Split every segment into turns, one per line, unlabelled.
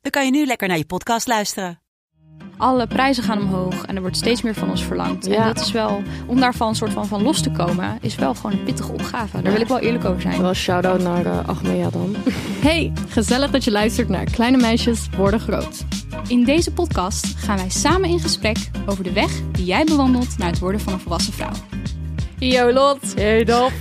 dan kan je nu lekker naar je podcast luisteren.
alle prijzen gaan omhoog en er wordt steeds meer van ons verlangd.
Ja.
En dat is wel, om daarvan een soort van, van los te komen, is wel gewoon een pittige opgave. Daar wil ik wel eerlijk over zijn.
Wel shout-out naar eh Achmea dan.
Hey, gezellig dat je luistert naar Kleine Meisjes Worden Groot.
In deze podcast gaan wij samen in gesprek over de weg die jij bewandelt naar het worden van een volwassen vrouw. Yo Lot,
Hey Dop.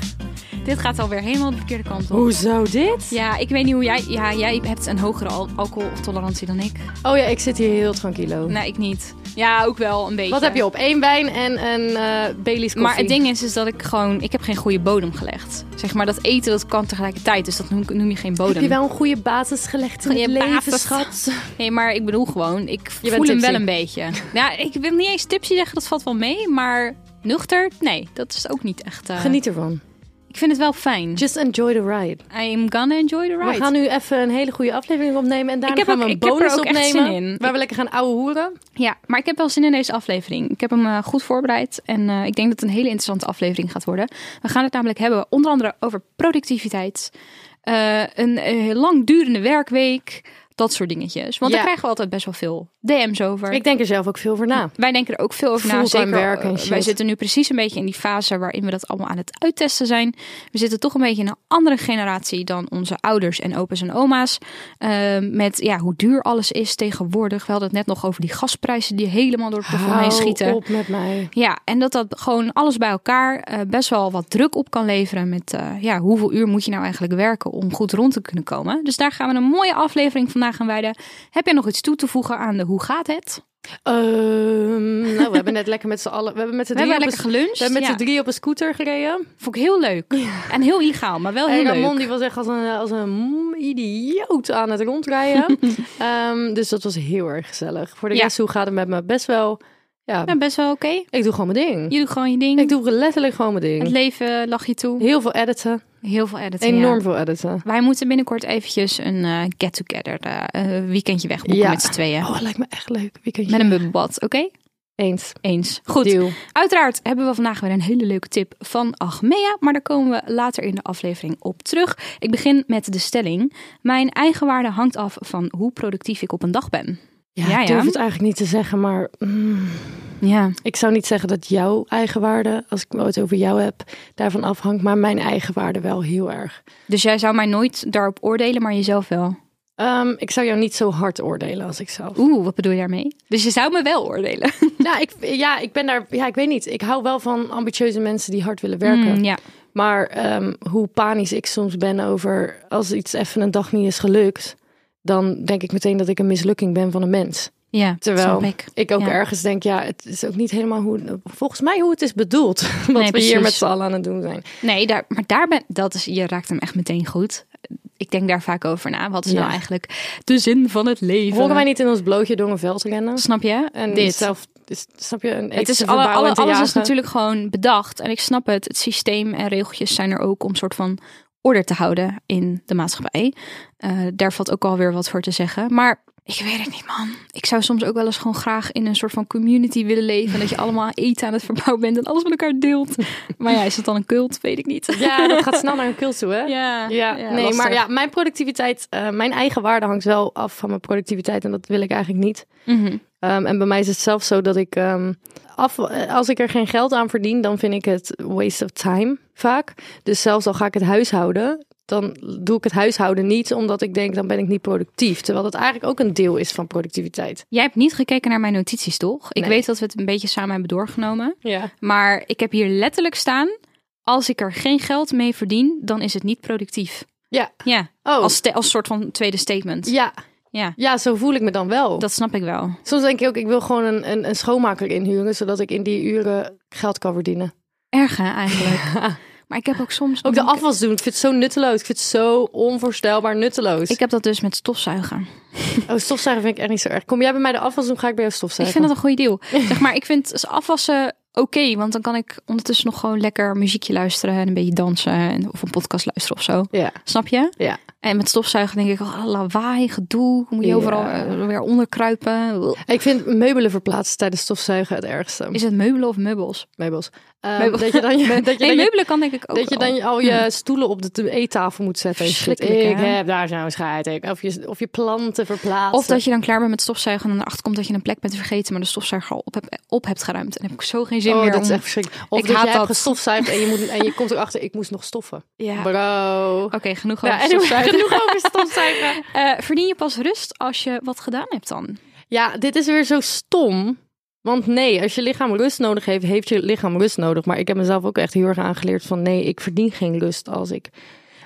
dit gaat alweer helemaal de verkeerde kant op.
Hoezo dit?
Ja, ik weet niet hoe jij... Ja, jij hebt een hogere al- alcoholtolerantie dan ik.
Oh ja, ik zit hier heel tranquilo.
Nee, ik niet. Ja, ook wel een beetje.
Wat heb je op? Eén wijn en een eh Bailey's koffie.
Maar het ding is, is dat ik gewoon... Ik heb geen goede bodem gelegd. Zeg maar, dat eten dat kan tegelijkertijd. Dus dat noem, noem je geen bodem.
Heb je wel een goede basis gelegd in
Goeie
het leven,
basis.
schat?
Nee, maar ik bedoel gewoon, ik
bent
voel hem
tipsy.
wel een beetje. Nou, ik wil niet eens tipsy zeggen, dat valt wel mee. Maar nuchter, nee, dat is ook niet echt... eh,
Geniet ervan.
Ik vind het wel fijn.
Just enjoy the ride.
I'm gonna enjoy the ride.
We gaan nu even een hele goede aflevering opnemen en daarna
Ik heb
gaan
ook-
we een
ik heb er
bonus
ook echt
opnemen.
zin in.
Waar we lekker gaan ouwe hoeren.
Ja, maar ik heb wel zin in deze aflevering. Ik heb hem eh, goed voorbereid en eh, ik denk dat het een hele interessante aflevering gaat worden. We gaan het namelijk hebben onder andere over productiviteit, eh, een eh, langdurende werkweek, dat soort dingetjes. Want
Ja.
daar krijgen we altijd best wel veel DM's over.
Ik denk er zelf ook veel voor na.
Wij denken er ook veel over na.
Fulltime
Zeker,
werk en
eh,
shit.
wij zitten nu precies een beetje in die fase waarin we dat allemaal aan het uittesten zijn. We zitten toch een beetje in een andere generatie dan onze ouders en opa's en oma's. Ehm, met ja, hoe duur alles is tegenwoordig. We hadden het net nog over die gasprijzen die helemaal door het plafond heen schieten.
Hou op met mij.
Ja, en dat dat gewoon alles bij elkaar eh, best wel wat druk op kan leveren. Met eh, ja, hoeveel uur moet je nou eigenlijk werken om goed rond te kunnen komen. Dus daar gaan we een mooie aflevering vandaag aan wijden. Heb jij nog iets toe te voegen aan de hoe gaat het?
Ehm, nou, we hebben net lekker met z'n allen... We hebben met z'n
We
drieën,
hebben
op, een-
lekker geluncht.
we hebben met
ja.
z'n drieën op een scooter gereden.
Vond ik heel leuk. En heel illegaal, maar wel Oh, heel
en Ramon
leuk.
die was echt als een, als een idioot aan het rondrijden. Ehm, dus dat was heel erg gezellig. Voor de
Ja.
rest, hoe gaat het met me? Best wel, ja,
Ja, best wel oké.
ik doe gewoon mijn ding.
Je doet gewoon je ding.
Ik doe letterlijk gewoon mijn
Het
ding.
leven lag je toe.
Heel veel editen.
Heel veel editen.
Enorm
ja.
veel editen.
Wij moeten binnenkort eventjes een eh, get-together eh, eh, weekendje wegboeken
Ja.
met z'n tweeën.
Oh, lijkt me echt leuk. Weekendje.
Met een bubbelbad, oké?
Eens.
Eens. Goed.
Deal.
Uiteraard hebben we vandaag weer een hele leuke tip van Achmea, maar daar komen we later in de aflevering op terug. Ik begin met de stelling. Mijn eigen waarde hangt af van hoe productief ik op een dag ben.
Ja,
Ja,
ik
ja.
durf het eigenlijk niet te zeggen, maar mm,
Ja.
ik zou niet zeggen dat jouw eigen waarde, als ik het over jou heb, daarvan afhangt. Maar mijn eigen waarde wel heel erg.
Dus jij zou mij nooit daarop oordelen, maar jezelf wel.
Ehm, ik zou jou niet zo hard oordelen als ik zelf.
Oeh, wat bedoel je daarmee? Dus je zou me wel oordelen.
Nou, ik, ja, ik ben daar. Ja, ik weet niet. Ik hou wel van ambitieuze mensen die hard willen werken.
Mm, ja.
Maar ehm, hoe panisch ik soms ben over als iets even een dag niet is gelukt, dan denk ik meteen dat ik een mislukking ben van een mens.
ja
Terwijl
snap ik.
ik ook
Ja.
ergens denk, ja, het is ook niet helemaal hoe, volgens mij hoe het is bedoeld. Wat we
precies.
hier met z'n allen aan het doen zijn.
Nee, daar, maar daar ben, dat is, je raakt hem echt meteen goed. Ik denk daar vaak over na. Wat is nou
Ja.
eigenlijk de zin van het leven?
Horen wij niet in ons blootje door een veld rennen?
Snap je?
En
eh, Dit.
zelf, is- snap je? Een
het is alle, alle, alles is natuurlijk gewoon bedacht. En ik snap het. Het systeem en regeltjes zijn er ook om soort van orde te houden in de maatschappij. Eh, daar valt ook alweer wat voor te zeggen. Maar ik weet het niet, man. Ik zou soms ook wel eens gewoon graag in een soort van community willen leven. En dat je allemaal eten aan het verbouwen bent en alles met elkaar deelt. Maar ja, is dat dan een cult? Weet ik niet.
Ja, dat gaat snel naar een cult toe, hè?
Ja,
Ja, nee,
lastig.
maar ja, mijn productiviteit, eh, mijn eigen waarde hangt wel af van mijn productiviteit en dat wil ik eigenlijk niet.
Mhm.
Ehm, en bij mij is het zelfs zo dat ik, ehm, af, eh, als ik er geen geld aan verdien, dan vind ik het waste of time vaak. Dus zelfs al ga ik het huishouden, dan doe ik het huishouden niet, omdat ik denk dan ben ik niet productief. Terwijl dat eigenlijk ook een deel is van productiviteit.
Jij hebt niet gekeken naar mijn notities, toch? Ik
Nee.
weet dat we het een beetje samen hebben doorgenomen.
Ja.
Maar ik heb hier letterlijk staan. Als ik er geen geld mee verdien, dan is het niet productief.
Ja.
Ja,
Oh.
als, ste- als soort van tweede statement. Ja.
Ja. Ja, zo voel ik me dan wel.
dat snap ik wel.
Soms denk ik ook, ik wil gewoon een, een, een schoonmaker inhuren, zodat ik in die uren geld kan verdienen.
Erg hè, eigenlijk. Maar ik heb ook soms...
Ook de
denk ik-
afwas doen. Ik vind het zo nutteloos. Ik vind het zo onvoorstelbaar nutteloos.
Ik heb dat dus met stofzuigen.
Oh, stofzuigen vind ik echt niet zo erg. Kom jij bij mij de afwas doen, ga ik bij jou
Ik
stofzuigen.
vind dat een goede deal. Zeg maar, ik vind s- afwassen oké, want dan kan ik ondertussen nog gewoon lekker muziekje luisteren en een beetje dansen en, of een podcast luisteren of zo.
Ja.
Snap je?
Ja.
En met stofzuigen denk ik, oh, lawaai, gedoe, moet je
Ja.
overal eh, weer onderkruipen. Ugh.
Ik vind meubelen verplaatsen tijdens stofzuigen het ergste.
Is het meubelen of meubels?
Meubels. Ehm,
Meubel-
Dat je dan je, dat je, dan
nee,
je-
meubelen kan denk ik ook
dat je
wel.
dan al Hmm. je stoelen op de te- eettafel moet zetten. en shit.
Verschrikkelijk, hè?
Ik heb daar zo'n scheid. in. Of je, of je planten verplaatsen.
Of dat je dan klaar bent met stofzuigen en erachter komt dat je een plek bent vergeten, maar de stofzuiger al op, heb, op hebt geruimd. En dan heb ik zo geen zin
Oh,
meer
dat is
om...
echt verschrikkelijk. Of
Ik
dat
haat
je hebt
dat.
gestofzuigd en je, moet, en je komt erachter, ik moest nog stoffen.
Ja. Oké,
Bro.
genoeg over
Ja, Nou, anyway,
stofzuigen.
genoeg over stofzuigen.
Eh, verdien je pas rust als je wat gedaan hebt dan?
Ja, dit is weer zo stom. Want nee, als je lichaam rust nodig heeft, heeft je lichaam rust nodig. Maar ik heb mezelf ook echt heel erg aangeleerd van nee, ik verdien geen rust als ik...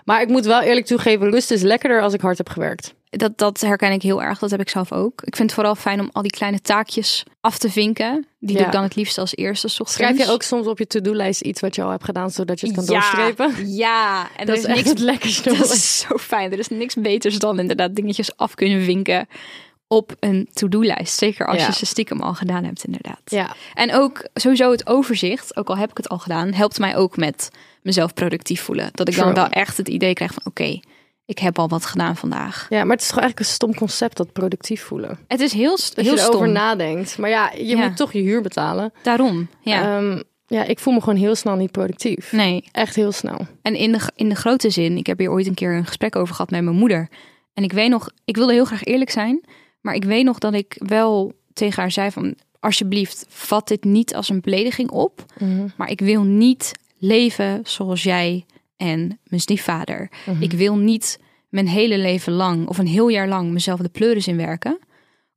Maar ik moet wel eerlijk toegeven, rust is lekkerder als ik hard heb gewerkt.
Dat, dat herken ik heel erg. Dat heb ik zelf ook. Ik vind het vooral fijn om al die kleine taakjes af te vinken. Die
Ja.
doe ik dan het liefst als eerste. 's ochtends.
Schrijf je ook soms op je to-do-lijst iets wat je al hebt gedaan, zodat je het kan
Ja.
doorstrepen?
Ja, en
Dat
dat
is
is
echt
niks,
het lekkerste.
dat is zo fijn. Er is niks beters dan inderdaad dingetjes af kunnen vinken op een to-do-lijst. Zeker als
Ja.
je ze stiekem al gedaan hebt, inderdaad.
Ja,
En ook sowieso het overzicht, ook al heb ik het al gedaan, helpt mij ook met mezelf productief voelen. Dat ik
True.
dan wel echt het idee krijg van oké, ik heb al wat gedaan vandaag.
ja, maar het is toch eigenlijk een stom concept, dat productief voelen.
Het is heel,
Als
heel
je erover
stom.
nadenkt. Maar ja, je
Ja.
moet toch je huur betalen.
Daarom, ja. Mm.
Ehm, ja, ik voel me gewoon heel snel niet productief.
nee.
Echt heel snel.
En in de, in de grote zin, ik heb hier ooit een keer een gesprek over gehad met mijn moeder. En ik weet nog, ik wilde heel graag eerlijk zijn, maar ik weet nog dat ik wel tegen haar zei van, alsjeblieft, vat dit niet als een belediging op, maar ik wil niet leven zoals jij en mijn stiefvader. Ik wil niet mijn hele leven lang of een heel jaar lang mezelf de pleuris inwerken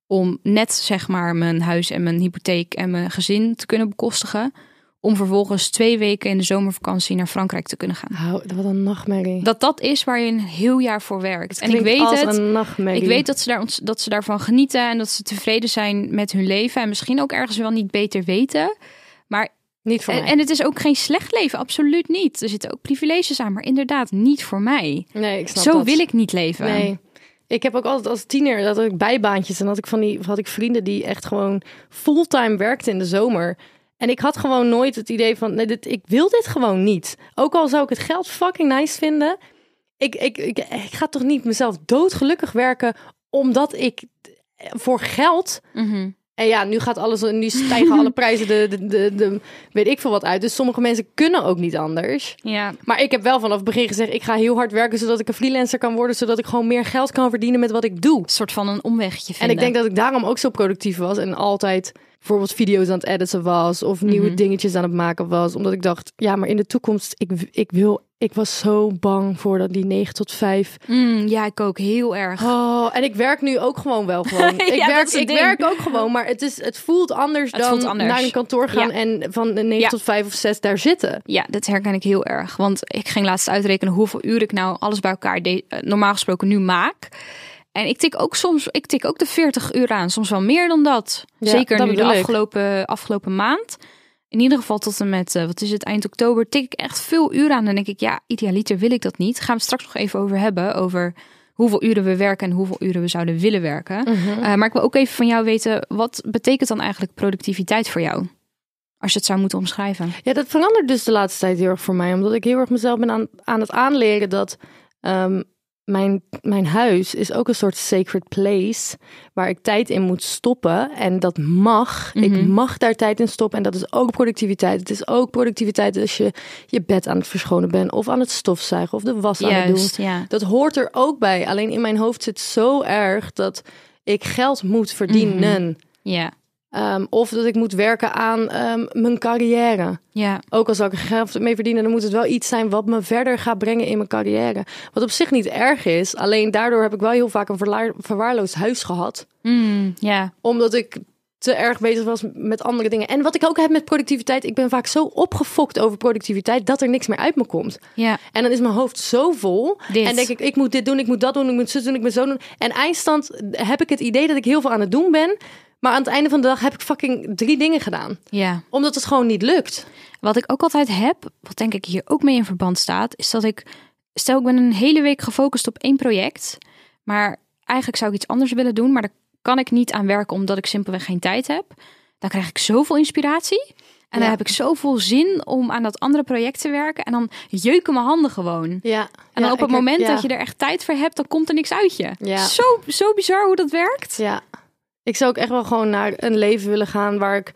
om net zeg maar mijn huis en mijn hypotheek en mijn gezin te kunnen bekostigen. Om vervolgens twee weken in de zomervakantie naar Frankrijk te kunnen gaan
Hou, wat een nachtmerrie.
dat dat is waar je een heel jaar voor werkt. en ik
Klinkt
weet
als
het.
een nachtmerrie.
Ik weet dat ze, daar, ont- dat ze daarvan genieten en dat ze tevreden zijn met hun leven. En misschien ook ergens wel niet beter weten.
Niet voor
En,
mij.
en het is ook geen slecht leven, absoluut niet. Er zitten ook privileges aan, maar inderdaad niet voor mij.
nee, ik snap
Zo
dat.
wil ik niet leven.
Nee. Ik heb ook altijd als tiener dat ik bijbaantjes en had ik van die had ik vrienden die echt gewoon fulltime werkten in de zomer. En ik had gewoon nooit het idee van nee, dit, ik wil dit gewoon niet. Ook al zou ik het geld fucking nice vinden. Ik, ik, ik, ik ga toch niet mezelf doodgelukkig werken omdat ik voor geld
Mhm.
En ja, nu gaat alles, nu stijgen alle prijzen, de, de, de, de- weet ik veel wat uit. Dus sommige mensen kunnen ook niet anders.
Ja,
Maar ik heb wel vanaf het begin gezegd, ik ga heel hard werken zodat ik een freelancer kan worden, zodat ik gewoon meer geld kan verdienen met wat ik doe.
een soort van een omwegje
En
vinden.
ik denk dat ik daarom ook zo productief was en altijd bijvoorbeeld video's aan het editen was of
Mhm.
nieuwe dingetjes aan het maken was. Omdat ik dacht, ja, maar in de toekomst, ik, ik wil, ik was zo bang voor dat die 9 tot 5
Mm, ja, ik ook heel erg.
Oh, en ik werk nu ook gewoon wel gewoon.
Ja,
ik
dat
werk,
is het
ik
ding.
werk ook gewoon, maar het, is, het voelt anders
Het
dan
voelt anders.
naar een kantoor gaan
Ja.
en van de 9
Ja.
tot 5 of 6 daar zitten.
Ja, dat herken ik heel erg. Want ik ging laatst uitrekenen hoeveel uur ik nou alles bij elkaar de- eh, normaal gesproken nu maak. En ik tik ook soms, ik tik ook de 40 uur aan, soms wel meer dan dat.
Ja,
Zeker
dat
nu de
bedoel ik.
afgelopen, afgelopen maand. In ieder geval tot en met, eh, wat is het, eind oktober, tik ik echt veel uren aan. Dan denk ik, ja, idealiter wil ik dat niet. Gaan we het straks nog even over hebben, over hoeveel uren we werken en hoeveel uren we zouden willen werken.
Mhm.
Eh, maar ik wil ook even van jou weten, wat betekent dan eigenlijk productiviteit voor jou? Als je het zou moeten omschrijven.
Ja, dat verandert dus de laatste tijd heel erg voor mij. Omdat ik heel erg mezelf ben aan, aan het aanleren dat ehm, mijn, mijn huis is ook een soort sacred place. Waar ik tijd in moet stoppen. En dat mag.
Mhm.
Ik mag daar tijd in stoppen. En dat is ook productiviteit. Het is ook productiviteit als je je bed aan het verschonen bent. Of aan het stofzuigen. Of de was aan het doen.
Juist, ja.
Dat hoort er ook bij. Alleen in mijn hoofd zit zo erg dat ik geld moet verdienen.
Ja,
Ehm, of dat ik moet werken aan ehm, mijn carrière.
ja.
Ook al zou ik er geld mee verdienen, dan moet het wel iets zijn wat me verder gaat brengen in mijn carrière. Wat op zich niet erg is. Alleen daardoor heb ik wel heel vaak een verlaar- verwaarloosd huis gehad.
Mm, ja,
Omdat ik te erg bezig was met andere dingen. En wat ik ook heb met productiviteit. Ik ben vaak zo opgefokt over productiviteit dat er niks meer uit me komt.
ja.
En dan is mijn hoofd zo vol.
Dit.
En denk ik, ik moet dit doen, ik moet dat doen, ik moet zus doen, ik moet zo doen. En eindstand heb ik het idee dat ik heel veel aan het doen ben. Maar aan het einde van de dag heb ik fucking drie dingen gedaan.
Ja.
Omdat het gewoon niet lukt.
Wat ik ook altijd heb, wat denk ik hier ook mee in verband staat, is dat ik, stel ik ben een hele week gefocust op één project, maar eigenlijk zou ik iets anders willen doen, maar daar kan ik niet aan werken omdat ik simpelweg geen tijd heb. Dan krijg ik zoveel inspiratie en dan
Ja.
heb ik zoveel zin om aan dat andere project te werken en dan jeuken mijn handen gewoon.
Ja.
En dan op het moment dat je er echt tijd voor hebt, dan komt er niks uit je.
Ja.
Zo, zo bizar hoe dat werkt.
Ja. Ik zou ook echt wel gewoon naar een leven willen gaan waar ik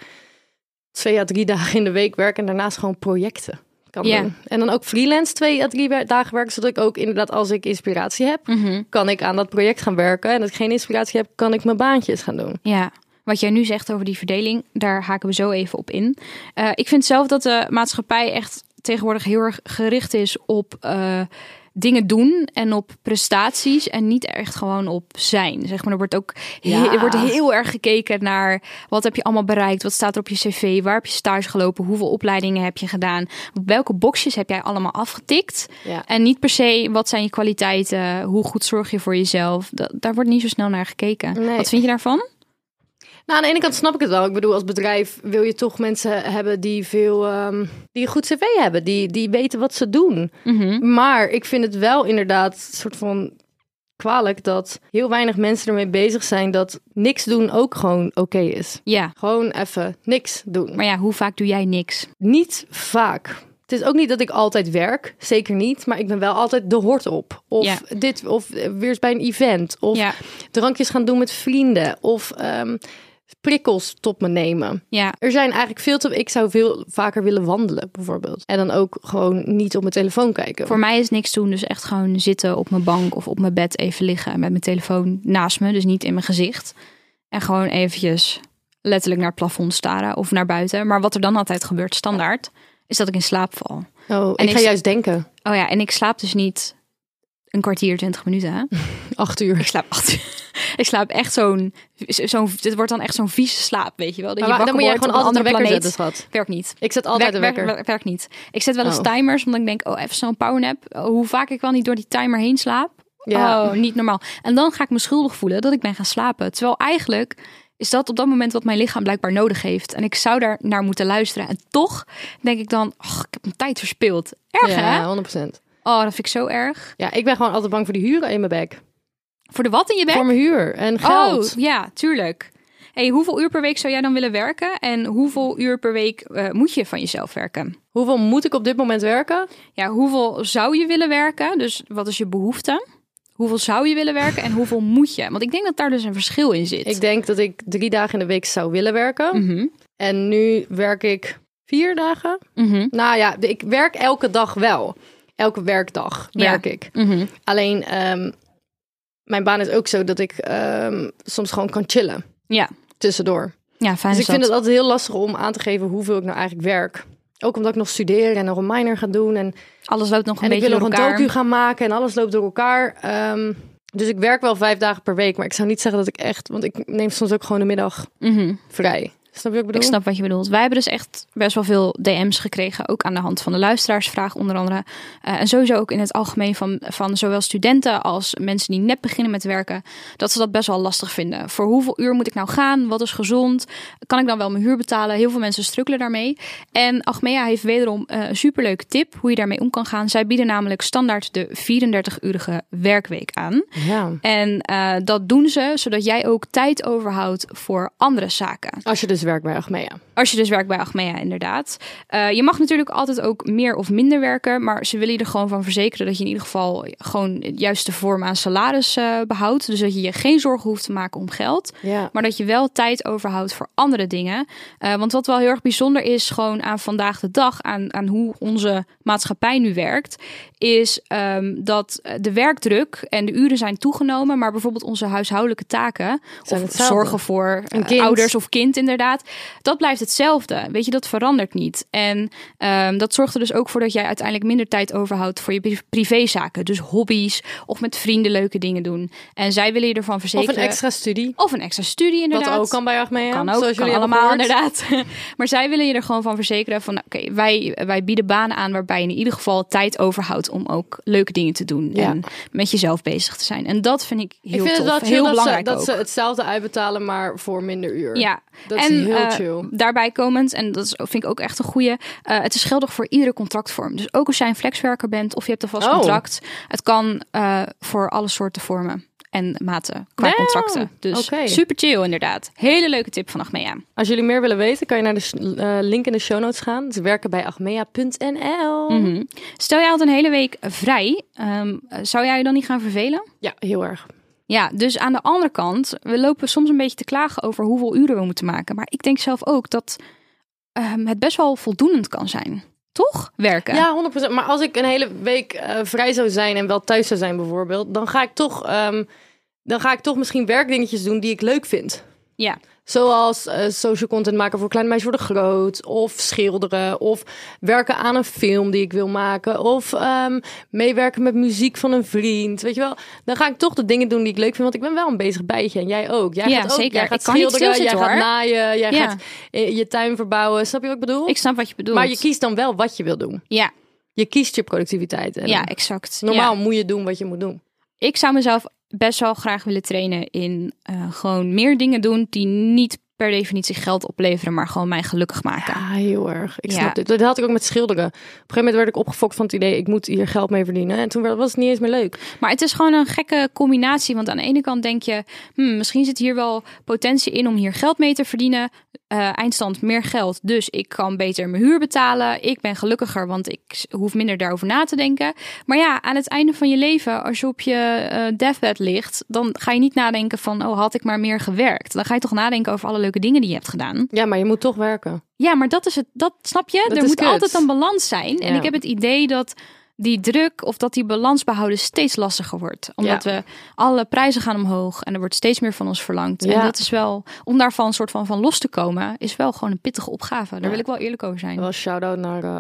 twee à drie dagen in de week werk en daarnaast gewoon projecten kan
Ja.
doen. En dan ook freelance twee à drie wer- dagen werken, zodat ik ook inderdaad als ik inspiratie heb,
Mhm.
kan ik aan dat project gaan werken. En als ik geen inspiratie heb, kan ik mijn baantjes gaan doen.
Ja, wat jij nu zegt over die verdeling, daar haken we zo even op in. Eh, ik vind zelf dat de maatschappij echt tegenwoordig heel erg gericht is op eh, dingen doen en op prestaties en niet echt gewoon op zijn. Zeg maar, er wordt ook he-
Ja.
er wordt heel erg gekeken naar wat heb je allemaal bereikt, wat staat er op je cv, waar heb je stage gelopen, hoeveel opleidingen heb je gedaan, welke boxjes heb jij allemaal afgetikt.
Ja.
En niet per se wat zijn je kwaliteiten, hoe goed zorg je voor jezelf. Da- daar wordt niet zo snel naar gekeken.
Nee.
Wat vind je daarvan?
Nou, aan de ene kant snap ik het wel. Ik bedoel, als bedrijf wil je toch mensen hebben die veel, ehm, die een goed cv hebben, die, die weten wat ze doen.
Mhm.
Maar ik vind het wel inderdaad een soort van kwalijk dat heel weinig mensen ermee bezig zijn dat niks doen ook gewoon oké is.
Ja,
Gewoon even niks doen.
maar ja, hoe vaak doe jij niks?
Niet vaak. Het is ook niet dat ik altijd werk, zeker niet, maar ik ben wel altijd de hort op. Of
Ja.
dit, of eh, weer eens bij een event. Of
Ja.
drankjes gaan doen met vrienden. Of ehm, prikkels tot me nemen.
Ja,
Er zijn eigenlijk veel te. Ik zou veel vaker willen wandelen, bijvoorbeeld. En dan ook gewoon niet op mijn telefoon kijken.
voor mij is niks doen, dus echt gewoon zitten op mijn bank of op mijn bed even liggen en met mijn telefoon naast me, dus niet in mijn gezicht. En gewoon eventjes letterlijk naar het plafond staren of naar buiten. Maar wat er dan altijd gebeurt, standaard, is dat ik in slaap val.
Oh,
En
ik ga
ik-
juist denken.
Oh ja, en ik slaap dus niet een kwartier, twintig minuten. Hè?
Acht
Ik
uur.
slaap acht Ik slaap echt zo'n, zo'n, dit wordt dan echt zo'n vieze slaap, weet je wel. Dat je
Maar
wakker
dan moet jij
wordt
gewoon
op een
altijd een
andere
wekker
planeet.
zetten, schat.
Werkt niet.
Ik zet altijd een
werk,
wekker.
werk- werk niet. Ik zet wel eens
Oh.
timers, omdat ik denk, oh, even snel een powernap. Oh, Hoe vaak ik wel niet door die timer heen slaap.
Ja.
Oh, niet normaal. En dan ga ik me schuldig voelen dat ik ben gaan slapen. Terwijl eigenlijk is dat op dat moment wat mijn lichaam blijkbaar nodig heeft. En ik zou daar naar moeten luisteren. En toch denk ik dan, oh, ik heb mijn tijd verspild. Erg, hè?
Ja, 100%.
Oh, dat vind ik zo erg.
Ja, ik ben gewoon altijd bang voor die huren in mijn bek.
Voor de wat in je bek?
Voor mijn huur en geld.
Oh, ja, tuurlijk. Hey, hoeveel uur per week zou jij dan willen werken? En hoeveel uur per week eh, moet je van jezelf werken?
Hoeveel moet ik op dit moment werken?
ja, hoeveel zou je willen werken? Dus wat is je behoefte? Hoeveel zou je willen werken en hoeveel moet je? Want ik denk dat daar dus een verschil in zit.
Ik denk dat ik drie dagen in de week zou willen werken.
Mm.
En nu werk ik vier dagen.
Mhm.
Nou ja, ik werk elke dag wel. Elke werkdag
Ja.
werk ik.
Mhm.
Alleen, ehm, mijn baan is ook zo dat ik ehm, soms gewoon kan chillen
Ja.
tussendoor.
ja, fijn
Dus
is
ik vind
dat.
het altijd heel lastig om aan te geven hoeveel ik nou eigenlijk werk. Ook omdat ik nog studeer en nog een minor ga doen. En
Alles loopt nog een
en ik
beetje
wil
door
nog een
elkaar.
docu gaan maken en alles loopt door elkaar. Ehm, dus ik werk wel vijf dagen per week. Maar ik zou niet zeggen dat ik echt... Want ik neem soms ook gewoon de middag
Mhm.
vrij. Snap je wat ik bedoel?
Ik snap wat je bedoelt. Wij hebben dus echt best wel veel DM's gekregen. Ook aan de hand van de luisteraarsvraag onder andere. Eh, en sowieso ook in het algemeen van, van zowel studenten als mensen die net beginnen met werken. Dat ze dat best wel lastig vinden. Voor hoeveel uur moet ik nou gaan? Wat is gezond? Kan ik dan wel mijn huur betalen? Heel veel mensen strukkelen daarmee. En Achmea heeft wederom eh, een superleuke tip hoe je daarmee om kan gaan. Zij bieden namelijk standaard de 34-urige werkweek aan.
Ja.
En eh, dat doen ze zodat jij ook tijd overhoudt voor andere zaken.
Als je dus werkt bij Achmea.
Als je dus werkt bij Achmea, inderdaad. Eh, je mag natuurlijk altijd ook meer of minder werken. Maar ze willen je er gewoon van verzekeren dat je in ieder geval gewoon de juiste vorm aan salaris eh, behoudt. Dus dat je je geen zorgen hoeft te maken om geld.
Ja.
Maar dat je wel tijd overhoudt voor andere dingen. Eh, want wat wel heel erg bijzonder is, gewoon aan vandaag de dag, aan, aan hoe onze maatschappij nu werkt, is ehm, dat eh, de werkdruk en de uren zijn toegenomen. Maar bijvoorbeeld onze huishoudelijke taken,
Zijn
of
hetzelfde.
zorgen voor eh,
kind.
ouders of kind inderdaad, staat, dat blijft hetzelfde. Weet je, dat verandert niet. En ehm, dat zorgt er dus ook voor dat jij uiteindelijk minder tijd overhoudt voor je pri- privézaken. Dus hobby's of met vrienden leuke dingen doen. En zij willen je ervan
Of
verzekeren.
een extra studie.
of een extra studie inderdaad.
Wat ook kan bij Achmea.
Kan ook,
zoals
kan
jullie hebben
allemaal
gehoord.
inderdaad. maar zij willen je er gewoon van verzekeren van... nou, oké, wij, wij bieden banen aan waarbij je in ieder geval tijd overhoudt... om ook leuke dingen te doen
Ja.
en met jezelf bezig te zijn. En dat vind ik heel
Ik vind
tof,
het wel chill
heel
dat,
belangrijk
ze, dat
ook.
ze hetzelfde uitbetalen, maar voor minder uur.
ja,
Dat is
en
heel
eh,
chill.
daarbij komend, en dat is, vind ik ook echt een goede. het is geldig voor iedere contractvorm. Dus ook als jij een flexwerker bent of je hebt een vast
Oh.
contract. Het kan eh, voor alle soorten vormen en maten qua
Nou,
contracten. Dus
oké.
super chill inderdaad. Hele leuke tip van Achmea.
Als jullie meer willen weten, kan je naar de sh- eh, link in de show notes gaan. Het is werken bij achmea.nl.
Mhm. Stel jij had een hele week vrij, ehm, zou jij je dan niet gaan vervelen?
Ja, heel erg.
Ja, dus aan de andere kant, we lopen soms een beetje te klagen over hoeveel uren we moeten maken. Maar ik denk zelf ook dat ehm, het best wel voldoenend kan zijn. Toch? Werken.
Ja, 100%. Maar als ik een hele week eh, vrij zou zijn en wel thuis zou zijn bijvoorbeeld, dan ga ik toch, ehm, dan ga ik toch misschien werkdingetjes doen die ik leuk vind.
Ja.
Zoals eh, social content maken voor Kleine Meisjes Worden Groot. Of schilderen. Of werken aan een film die ik wil maken. Of ehm, meewerken met muziek van een vriend. Weet je wel. Dan ga ik toch de dingen doen die ik leuk vind. Want ik ben wel een bezig bijtje. En jij ook. Jij
Ja,
gaat ook,
zeker.
Jij gaat
Ik kan niet
schilderen. Jij
stilzitten,
gaat
hoor.
naaien. Jij
Ja.
gaat eh, je tuin verbouwen. Snap je wat ik bedoel?
Ik snap wat je bedoelt.
maar je kiest dan wel wat je wil doen.
Ja,
Je kiest je productiviteit. En
ja exact.
Ehm, normaal
Ja.
moet je doen wat je moet doen.
Ik zou mezelf best wel graag willen trainen in eh, gewoon meer dingen doen die niet per definitie geld opleveren, maar gewoon mij gelukkig maken.
Ja, Ah, heel erg. Ik
Ja.
snap dit. Dat had ik ook met schilderen. Op een gegeven moment werd ik opgefokt van het idee... ik moet hier geld mee verdienen. En toen werd- was het niet eens meer leuk.
Maar het is gewoon een gekke combinatie. Want aan de ene kant denk je, hmm, misschien zit hier wel potentie in om hier geld mee te verdienen. Eh, eindstand meer geld, dus ik kan beter mijn huur betalen. Ik ben gelukkiger, want ik s- hoef minder daarover na te denken. Maar ja, aan het einde van je leven, als je op je eh, deathbed ligt, dan ga je niet nadenken van, oh had ik maar meer gewerkt. Dan ga je toch nadenken over alle leuke dingen die je hebt gedaan.
Ja, maar je moet toch werken.
Ja, maar dat is het. Dat snap je.
Dat
er
is
moet
kut.
altijd een balans zijn. En
Ja.
ik heb het idee dat die druk of dat die balans behouden steeds lastiger wordt. Omdat
Ja.
we alle prijzen gaan omhoog en er wordt steeds meer van ons verlangd.
Ja.
En dat is wel, om daarvan een soort van van los te komen, is wel gewoon een pittige opgave. Daar
Ja.
wil ik wel eerlijk over zijn.
Wel shout-out naar eh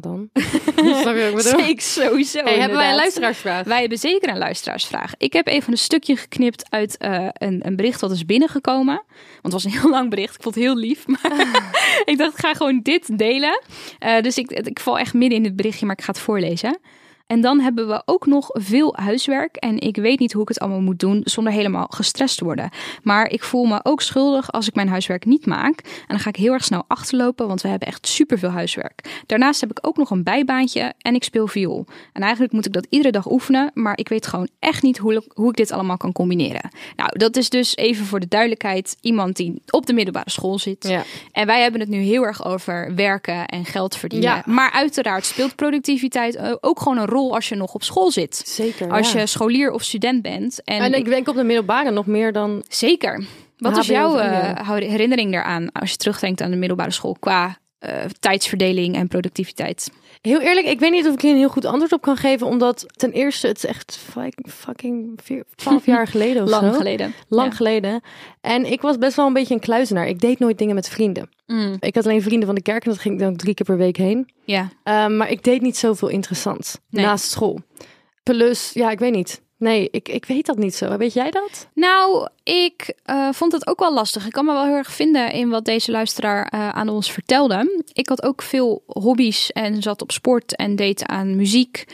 dan. Snap je wat ik bedoel?
Zeker, sowieso.
Hey, hebben wij een
inderdaad.
luisteraarsvraag?
Wij hebben zeker een luisteraarsvraag. Ik heb even een stukje geknipt uit eh, een, een bericht dat is binnengekomen. Want het was een heel lang bericht. Ik vond het heel lief. Maar ik dacht, ik ga gewoon dit delen. Eh, dus ik, ik val echt midden in het berichtje, maar ik ga het voorlezen. En dan hebben we ook nog veel huiswerk. En ik weet niet hoe ik het allemaal moet doen zonder helemaal gestrest te worden. Maar ik voel me ook schuldig als ik mijn huiswerk niet maak. En dan ga ik heel erg snel achterlopen, want we hebben echt superveel huiswerk. Daarnaast heb ik ook nog een bijbaantje en ik speel viool. En eigenlijk moet ik dat iedere dag oefenen, maar ik weet gewoon echt niet hoe, hoe ik dit allemaal kan combineren. Nou, dat is dus even voor de duidelijkheid iemand die op de middelbare school zit.
Ja.
En wij hebben het nu heel erg over werken en geld verdienen.
Ja.
Maar uiteraard speelt productiviteit eh, ook gewoon een rol als je nog op school zit.
Zeker,
Als
ja.
je scholier of student bent. En,
En
ik-
ik denk op de middelbare nog meer dan...
Zeker. Wat is
HBO
jouw
of
eh,
IO?
hou- herinnering daaraan als je terugdenkt aan de middelbare school qua eh, tijdsverdeling en productiviteit?
Heel eerlijk, ik weet niet of ik hier een heel goed antwoord op kan geven. Omdat ten eerste, het is echt fuck- fucking vier- 12 jaar geleden of zo.
Lang geleden.
Lang
Ja.
geleden. En ik was best wel een beetje een kluizenaar. Ik deed nooit dingen met vrienden.
Mm,
Ik had alleen vrienden van de kerk en dat ging ik dan drie keer per week heen.
ja.
Eh, maar ik deed niet zoveel interessants
Nee.
naast school. Plus, ja, ik weet niet. Nee, ik, ik weet dat niet zo. Weet jij dat?
Nou, ik eh, vond het ook wel lastig. Ik kan me wel heel erg vinden in wat deze luisteraar eh, aan ons vertelde. Ik had ook veel hobby's en zat op sport en deed aan muziek.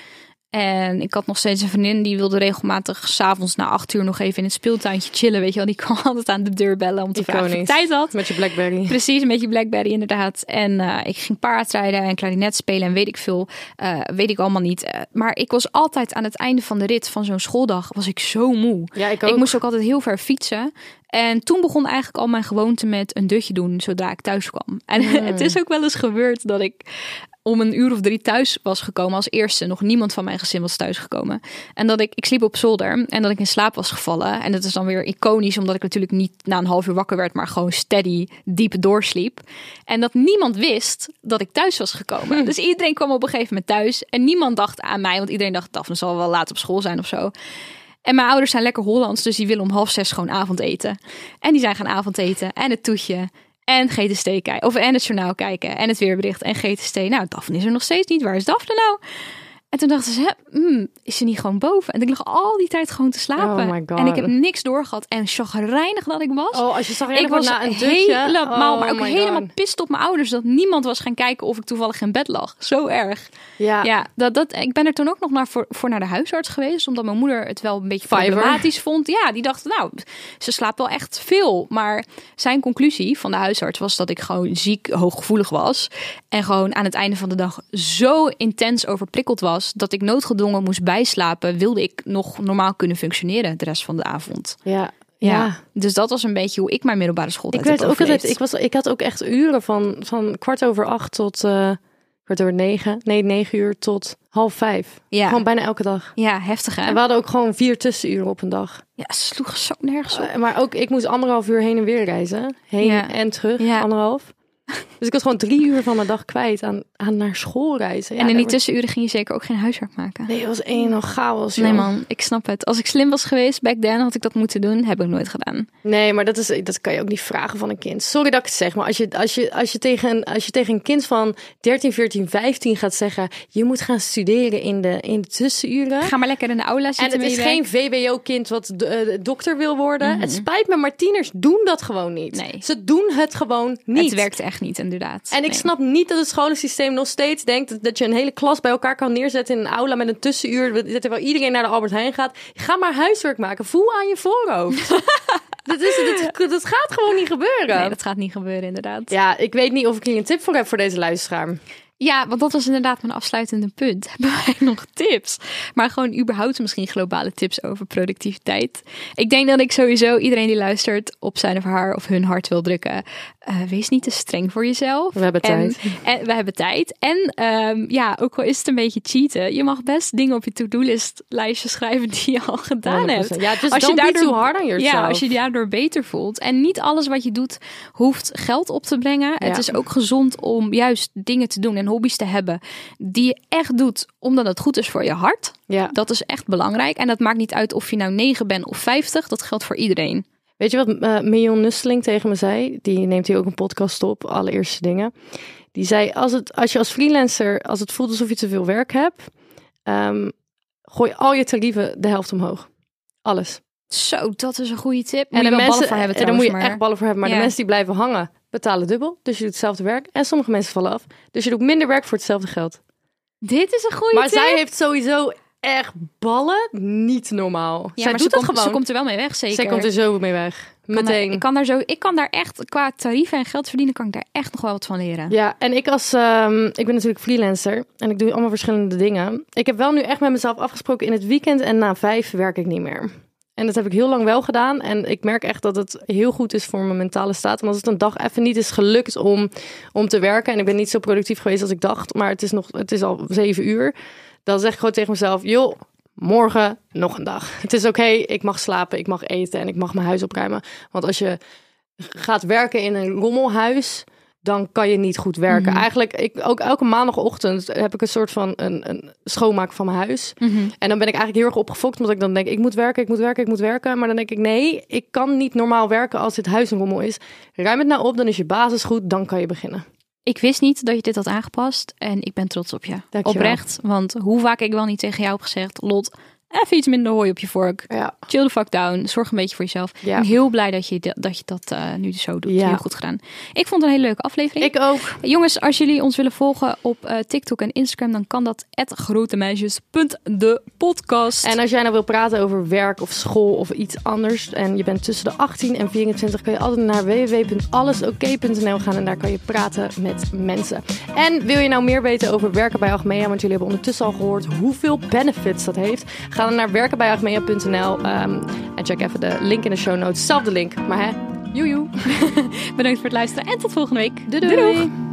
En ik had nog steeds een vriendin die wilde regelmatig s'avonds na acht uur nog even in het speeltuintje chillen. Weet je wel, die kwam altijd aan de deur bellen om te vragen of ik
Iconisch.
tijd had.
Met je Blackberry.
Precies, een beetje Blackberry inderdaad. En eh, ik ging paardrijden en klarinet spelen en weet ik veel. eh, weet ik allemaal niet. Eh, maar ik was altijd aan het einde van de rit van zo'n schooldag, was ik zo moe.
Ja, ik ook.
Ik moest ook altijd heel ver fietsen. En toen begon eigenlijk al mijn gewoonte met een dutje doen zodra ik thuis kwam. En het
Hmm.
is ook wel eens gebeurd dat ik om een uur of drie thuis was gekomen als eerste. Nog niemand van mijn gezin was thuisgekomen. En dat ik, ik sliep op zolder en dat ik in slaap was gevallen. En dat is dan weer iconisch, omdat ik natuurlijk niet na een half uur wakker werd, maar gewoon steady diep doorsliep. En dat niemand wist dat ik thuis was
Hmm.
gekomen. Dus iedereen kwam op een gegeven moment thuis en niemand dacht aan mij, want iedereen dacht, Daphne zal wel laat op school zijn of zo. En mijn ouders zijn lekker Hollands, dus die willen om half zes gewoon avondeten. En die zijn gaan avondeten en het toetje. en GTST kijken. Of en het journaal kijken en het weerbericht en GTST. Nou, Daphne is er nog steeds niet. Waar is Daphne nou? En toen dachten ze, hè, hmm, is ze niet gewoon boven? En ik lag al die tijd gewoon te slapen.
Oh my God.
En ik heb niks doorgehad. En chagrijnig dat ik was.
Oh, als je zag
ik was
na een dutje.
helemaal,
Oh
maar ook
my
helemaal
God.
pist op mijn ouders dat niemand was gaan kijken of ik toevallig in bed lag. Zo erg.
Ja.
Ja, dat, dat, ik ben er toen ook nog naar voor, voor naar de huisarts geweest. Omdat mijn moeder het wel een beetje
Fiber.
problematisch vond. Ja, die dacht, nou, ze slaapt wel echt veel. Maar zijn conclusie van de huisarts was dat ik gewoon ziek, hooggevoelig was. En gewoon aan het einde van de dag zo intens overprikkeld was. Dat ik noodgedwongen moest bijslapen. Wilde ik nog normaal kunnen functioneren de rest van de avond.
ja.
Ja.
ja.
Dus dat was een beetje hoe ik mijn middelbare school
Ik werd ook altijd,
overleefd.
ik, was, ik had ook echt uren van, van kwart over acht tot eh, kwart over negen. Nee, negen uur tot half vijf.
Ja.
Gewoon bijna elke dag.
Ja, heftig hè?
En we hadden ook gewoon vier tussenuren op een dag.
Ja, sloeg zo nergens op.
Eh, maar ook, ik moest anderhalf uur heen en weer reizen. Heen
Ja.
en terug,
Ja.
anderhalf. Dus ik had gewoon drie uur van mijn dag kwijt aan, aan naar school reizen. Ja,
en in die
daar werd-
tussenuren ging je zeker ook geen huiswerk maken.
Nee, het was één nog chaos. joh.
Nee man, ik snap het. Als ik slim was geweest back then, had ik dat moeten doen. Heb ik nooit gedaan.
Nee, maar dat, is, dat kan je ook niet vragen van een kind. Sorry dat ik het zeg, maar als je, als je, als je, tegen, een, als je tegen een kind van 13, 14, 15 gaat zeggen... je moet gaan studeren in de, in de tussenuren...
Ga maar lekker in de aula zitten.
en het
met
is
je
geen
werk. Mhm.
VWO-kind wat d- eh, dokter wil worden. Het spijt me, maar tieners doen dat gewoon niet.
Nee.
Ze doen het gewoon niet.
Het werkt echt niet, inderdaad.
En ik
Nee.
snap niet dat het scholensysteem nog steeds denkt... dat- dat je een hele klas bij elkaar kan neerzetten in een aula met een tussenuur... dat terwijl iedereen naar de Albert Heijn gaat. Ga maar huiswerk maken. Voel aan je voorhoofd. dat, is, dat, dat gaat gewoon niet gebeuren.
Nee, dat gaat niet gebeuren, inderdaad. Ja.
Ja, ik weet niet of ik hier een tip voor heb voor deze luisteraar.
want dat was inderdaad mijn afsluitende punt. Hebben wij nog tips? Maar gewoon überhaupt misschien globale tips over productiviteit. Ik denk dat ik sowieso iedereen die luistert op zijn of haar of hun hart wil drukken. eh, wees niet te streng voor jezelf.
We hebben
En-
tijd.
En we hebben tijd. En ehm, ja, ook al is het een beetje cheaten, je mag best dingen op je to-do-list lijstje schrijven die je al gedaan hebt.
100%. Ja, just don't be too hard on yourself.
Ja, als je daardoor beter voelt. En niet alles wat je doet hoeft geld op te brengen. Het
Ja.
is ook gezond om juist dingen te doen en hobby's te hebben die je echt doet omdat het goed is voor je hart.
Ja.
Dat is echt belangrijk. En dat maakt niet uit of je nou 9 bent of 50. Dat geldt voor iedereen.
Weet je wat eh Mion Nusseling tegen me zei? Die neemt hier ook een podcast op, allereerste dingen. Die zei, als, het, als je als freelancer, als het voelt alsof je te veel werk hebt... ehm, gooi al je tarieven de helft omhoog. Alles.
Zo, dat is een goede tip. Moet je wel ballen voor hebben
en daar moet
trouwens,
je
maar-
echt ballen voor hebben. Maar
Ja.
de mensen die blijven hangen, betalen dubbel. Dus je doet hetzelfde werk. En sommige mensen vallen af. Dus je doet minder werk voor hetzelfde geld.
Dit is een goede
Maar
tip.
zij heeft sowieso echt ballen niet normaal.
Ja,
zij
maar
doet
ze
het
komt,
gewoon.
Ze komt er wel mee weg, zeker.
Zij komt er zo mee weg.
Ik kan daar-
Meteen.
Ik kan, daar zo, ik kan daar echt, qua tarieven en geld verdienen, kan ik daar echt nog wel wat van leren.
Ja, en ik als ehm, ik ben natuurlijk freelancer en ik doe allemaal verschillende dingen. Ik heb wel nu echt met mezelf afgesproken in het weekend en na vijf werk ik niet meer. En dat heb ik heel lang wel gedaan. En ik merk echt dat het heel goed is voor mijn mentale staat. Want als het een dag even niet is gelukt om, om te werken. En ik ben niet zo productief geweest als ik dacht. Maar het is, nog, het is al zeven uur. Dan zeg ik gewoon tegen mezelf: joh, morgen nog een dag. Het is oké, ik mag slapen, ik mag eten en ik mag mijn huis opruimen. Want als je gaat werken in een rommelhuis, dan kan je niet goed werken. Eigenlijk, ik, ook elke maandagochtend heb ik een soort van een, een schoonmaak van mijn huis. En dan ben ik eigenlijk heel erg opgefokt, omdat ik dan denk, ik moet werken, ik moet werken, ik moet werken. Maar dan denk ik, nee, ik kan niet normaal werken als dit huis een rommel is. Ruim het nou op, dan is je basis goed, dan kan je beginnen.
Ik wist niet dat je dit had aangepast en ik ben trots op je.
Dankjewel.
Oprecht, want hoe vaak ik wel niet tegen jou heb gezegd, Lot, even iets minder hooi op je vork.
Ja.
Chill the fuck down, zorg een beetje voor jezelf.
Ja.
Ik ben heel blij dat je dat, dat, je dat eh, nu zo doet.
Ja.
Heel goed gedaan. Ik vond het een hele leuke aflevering.
Ik ook.
Jongens, als jullie ons willen volgen op eh, TikTok en Instagram, dan kan dat grotemeisjes.depodcast.
En als jij nou wil praten over werk of school of iets anders en je bent tussen de 18 en 24, kan je altijd naar www.allesoké.nl gaan en daar kan je praten met mensen. En wil je nou meer weten over werken bij Achmea, want jullie hebben ondertussen al gehoord hoeveel benefits dat heeft, ga dan naar werkenbijagmea.nl ehm, en check even de link in de show notes. Zelfde link, maar hè, joejoe.
Bedankt voor het luisteren en tot volgende week.
Doei doei!
Doei, doeg.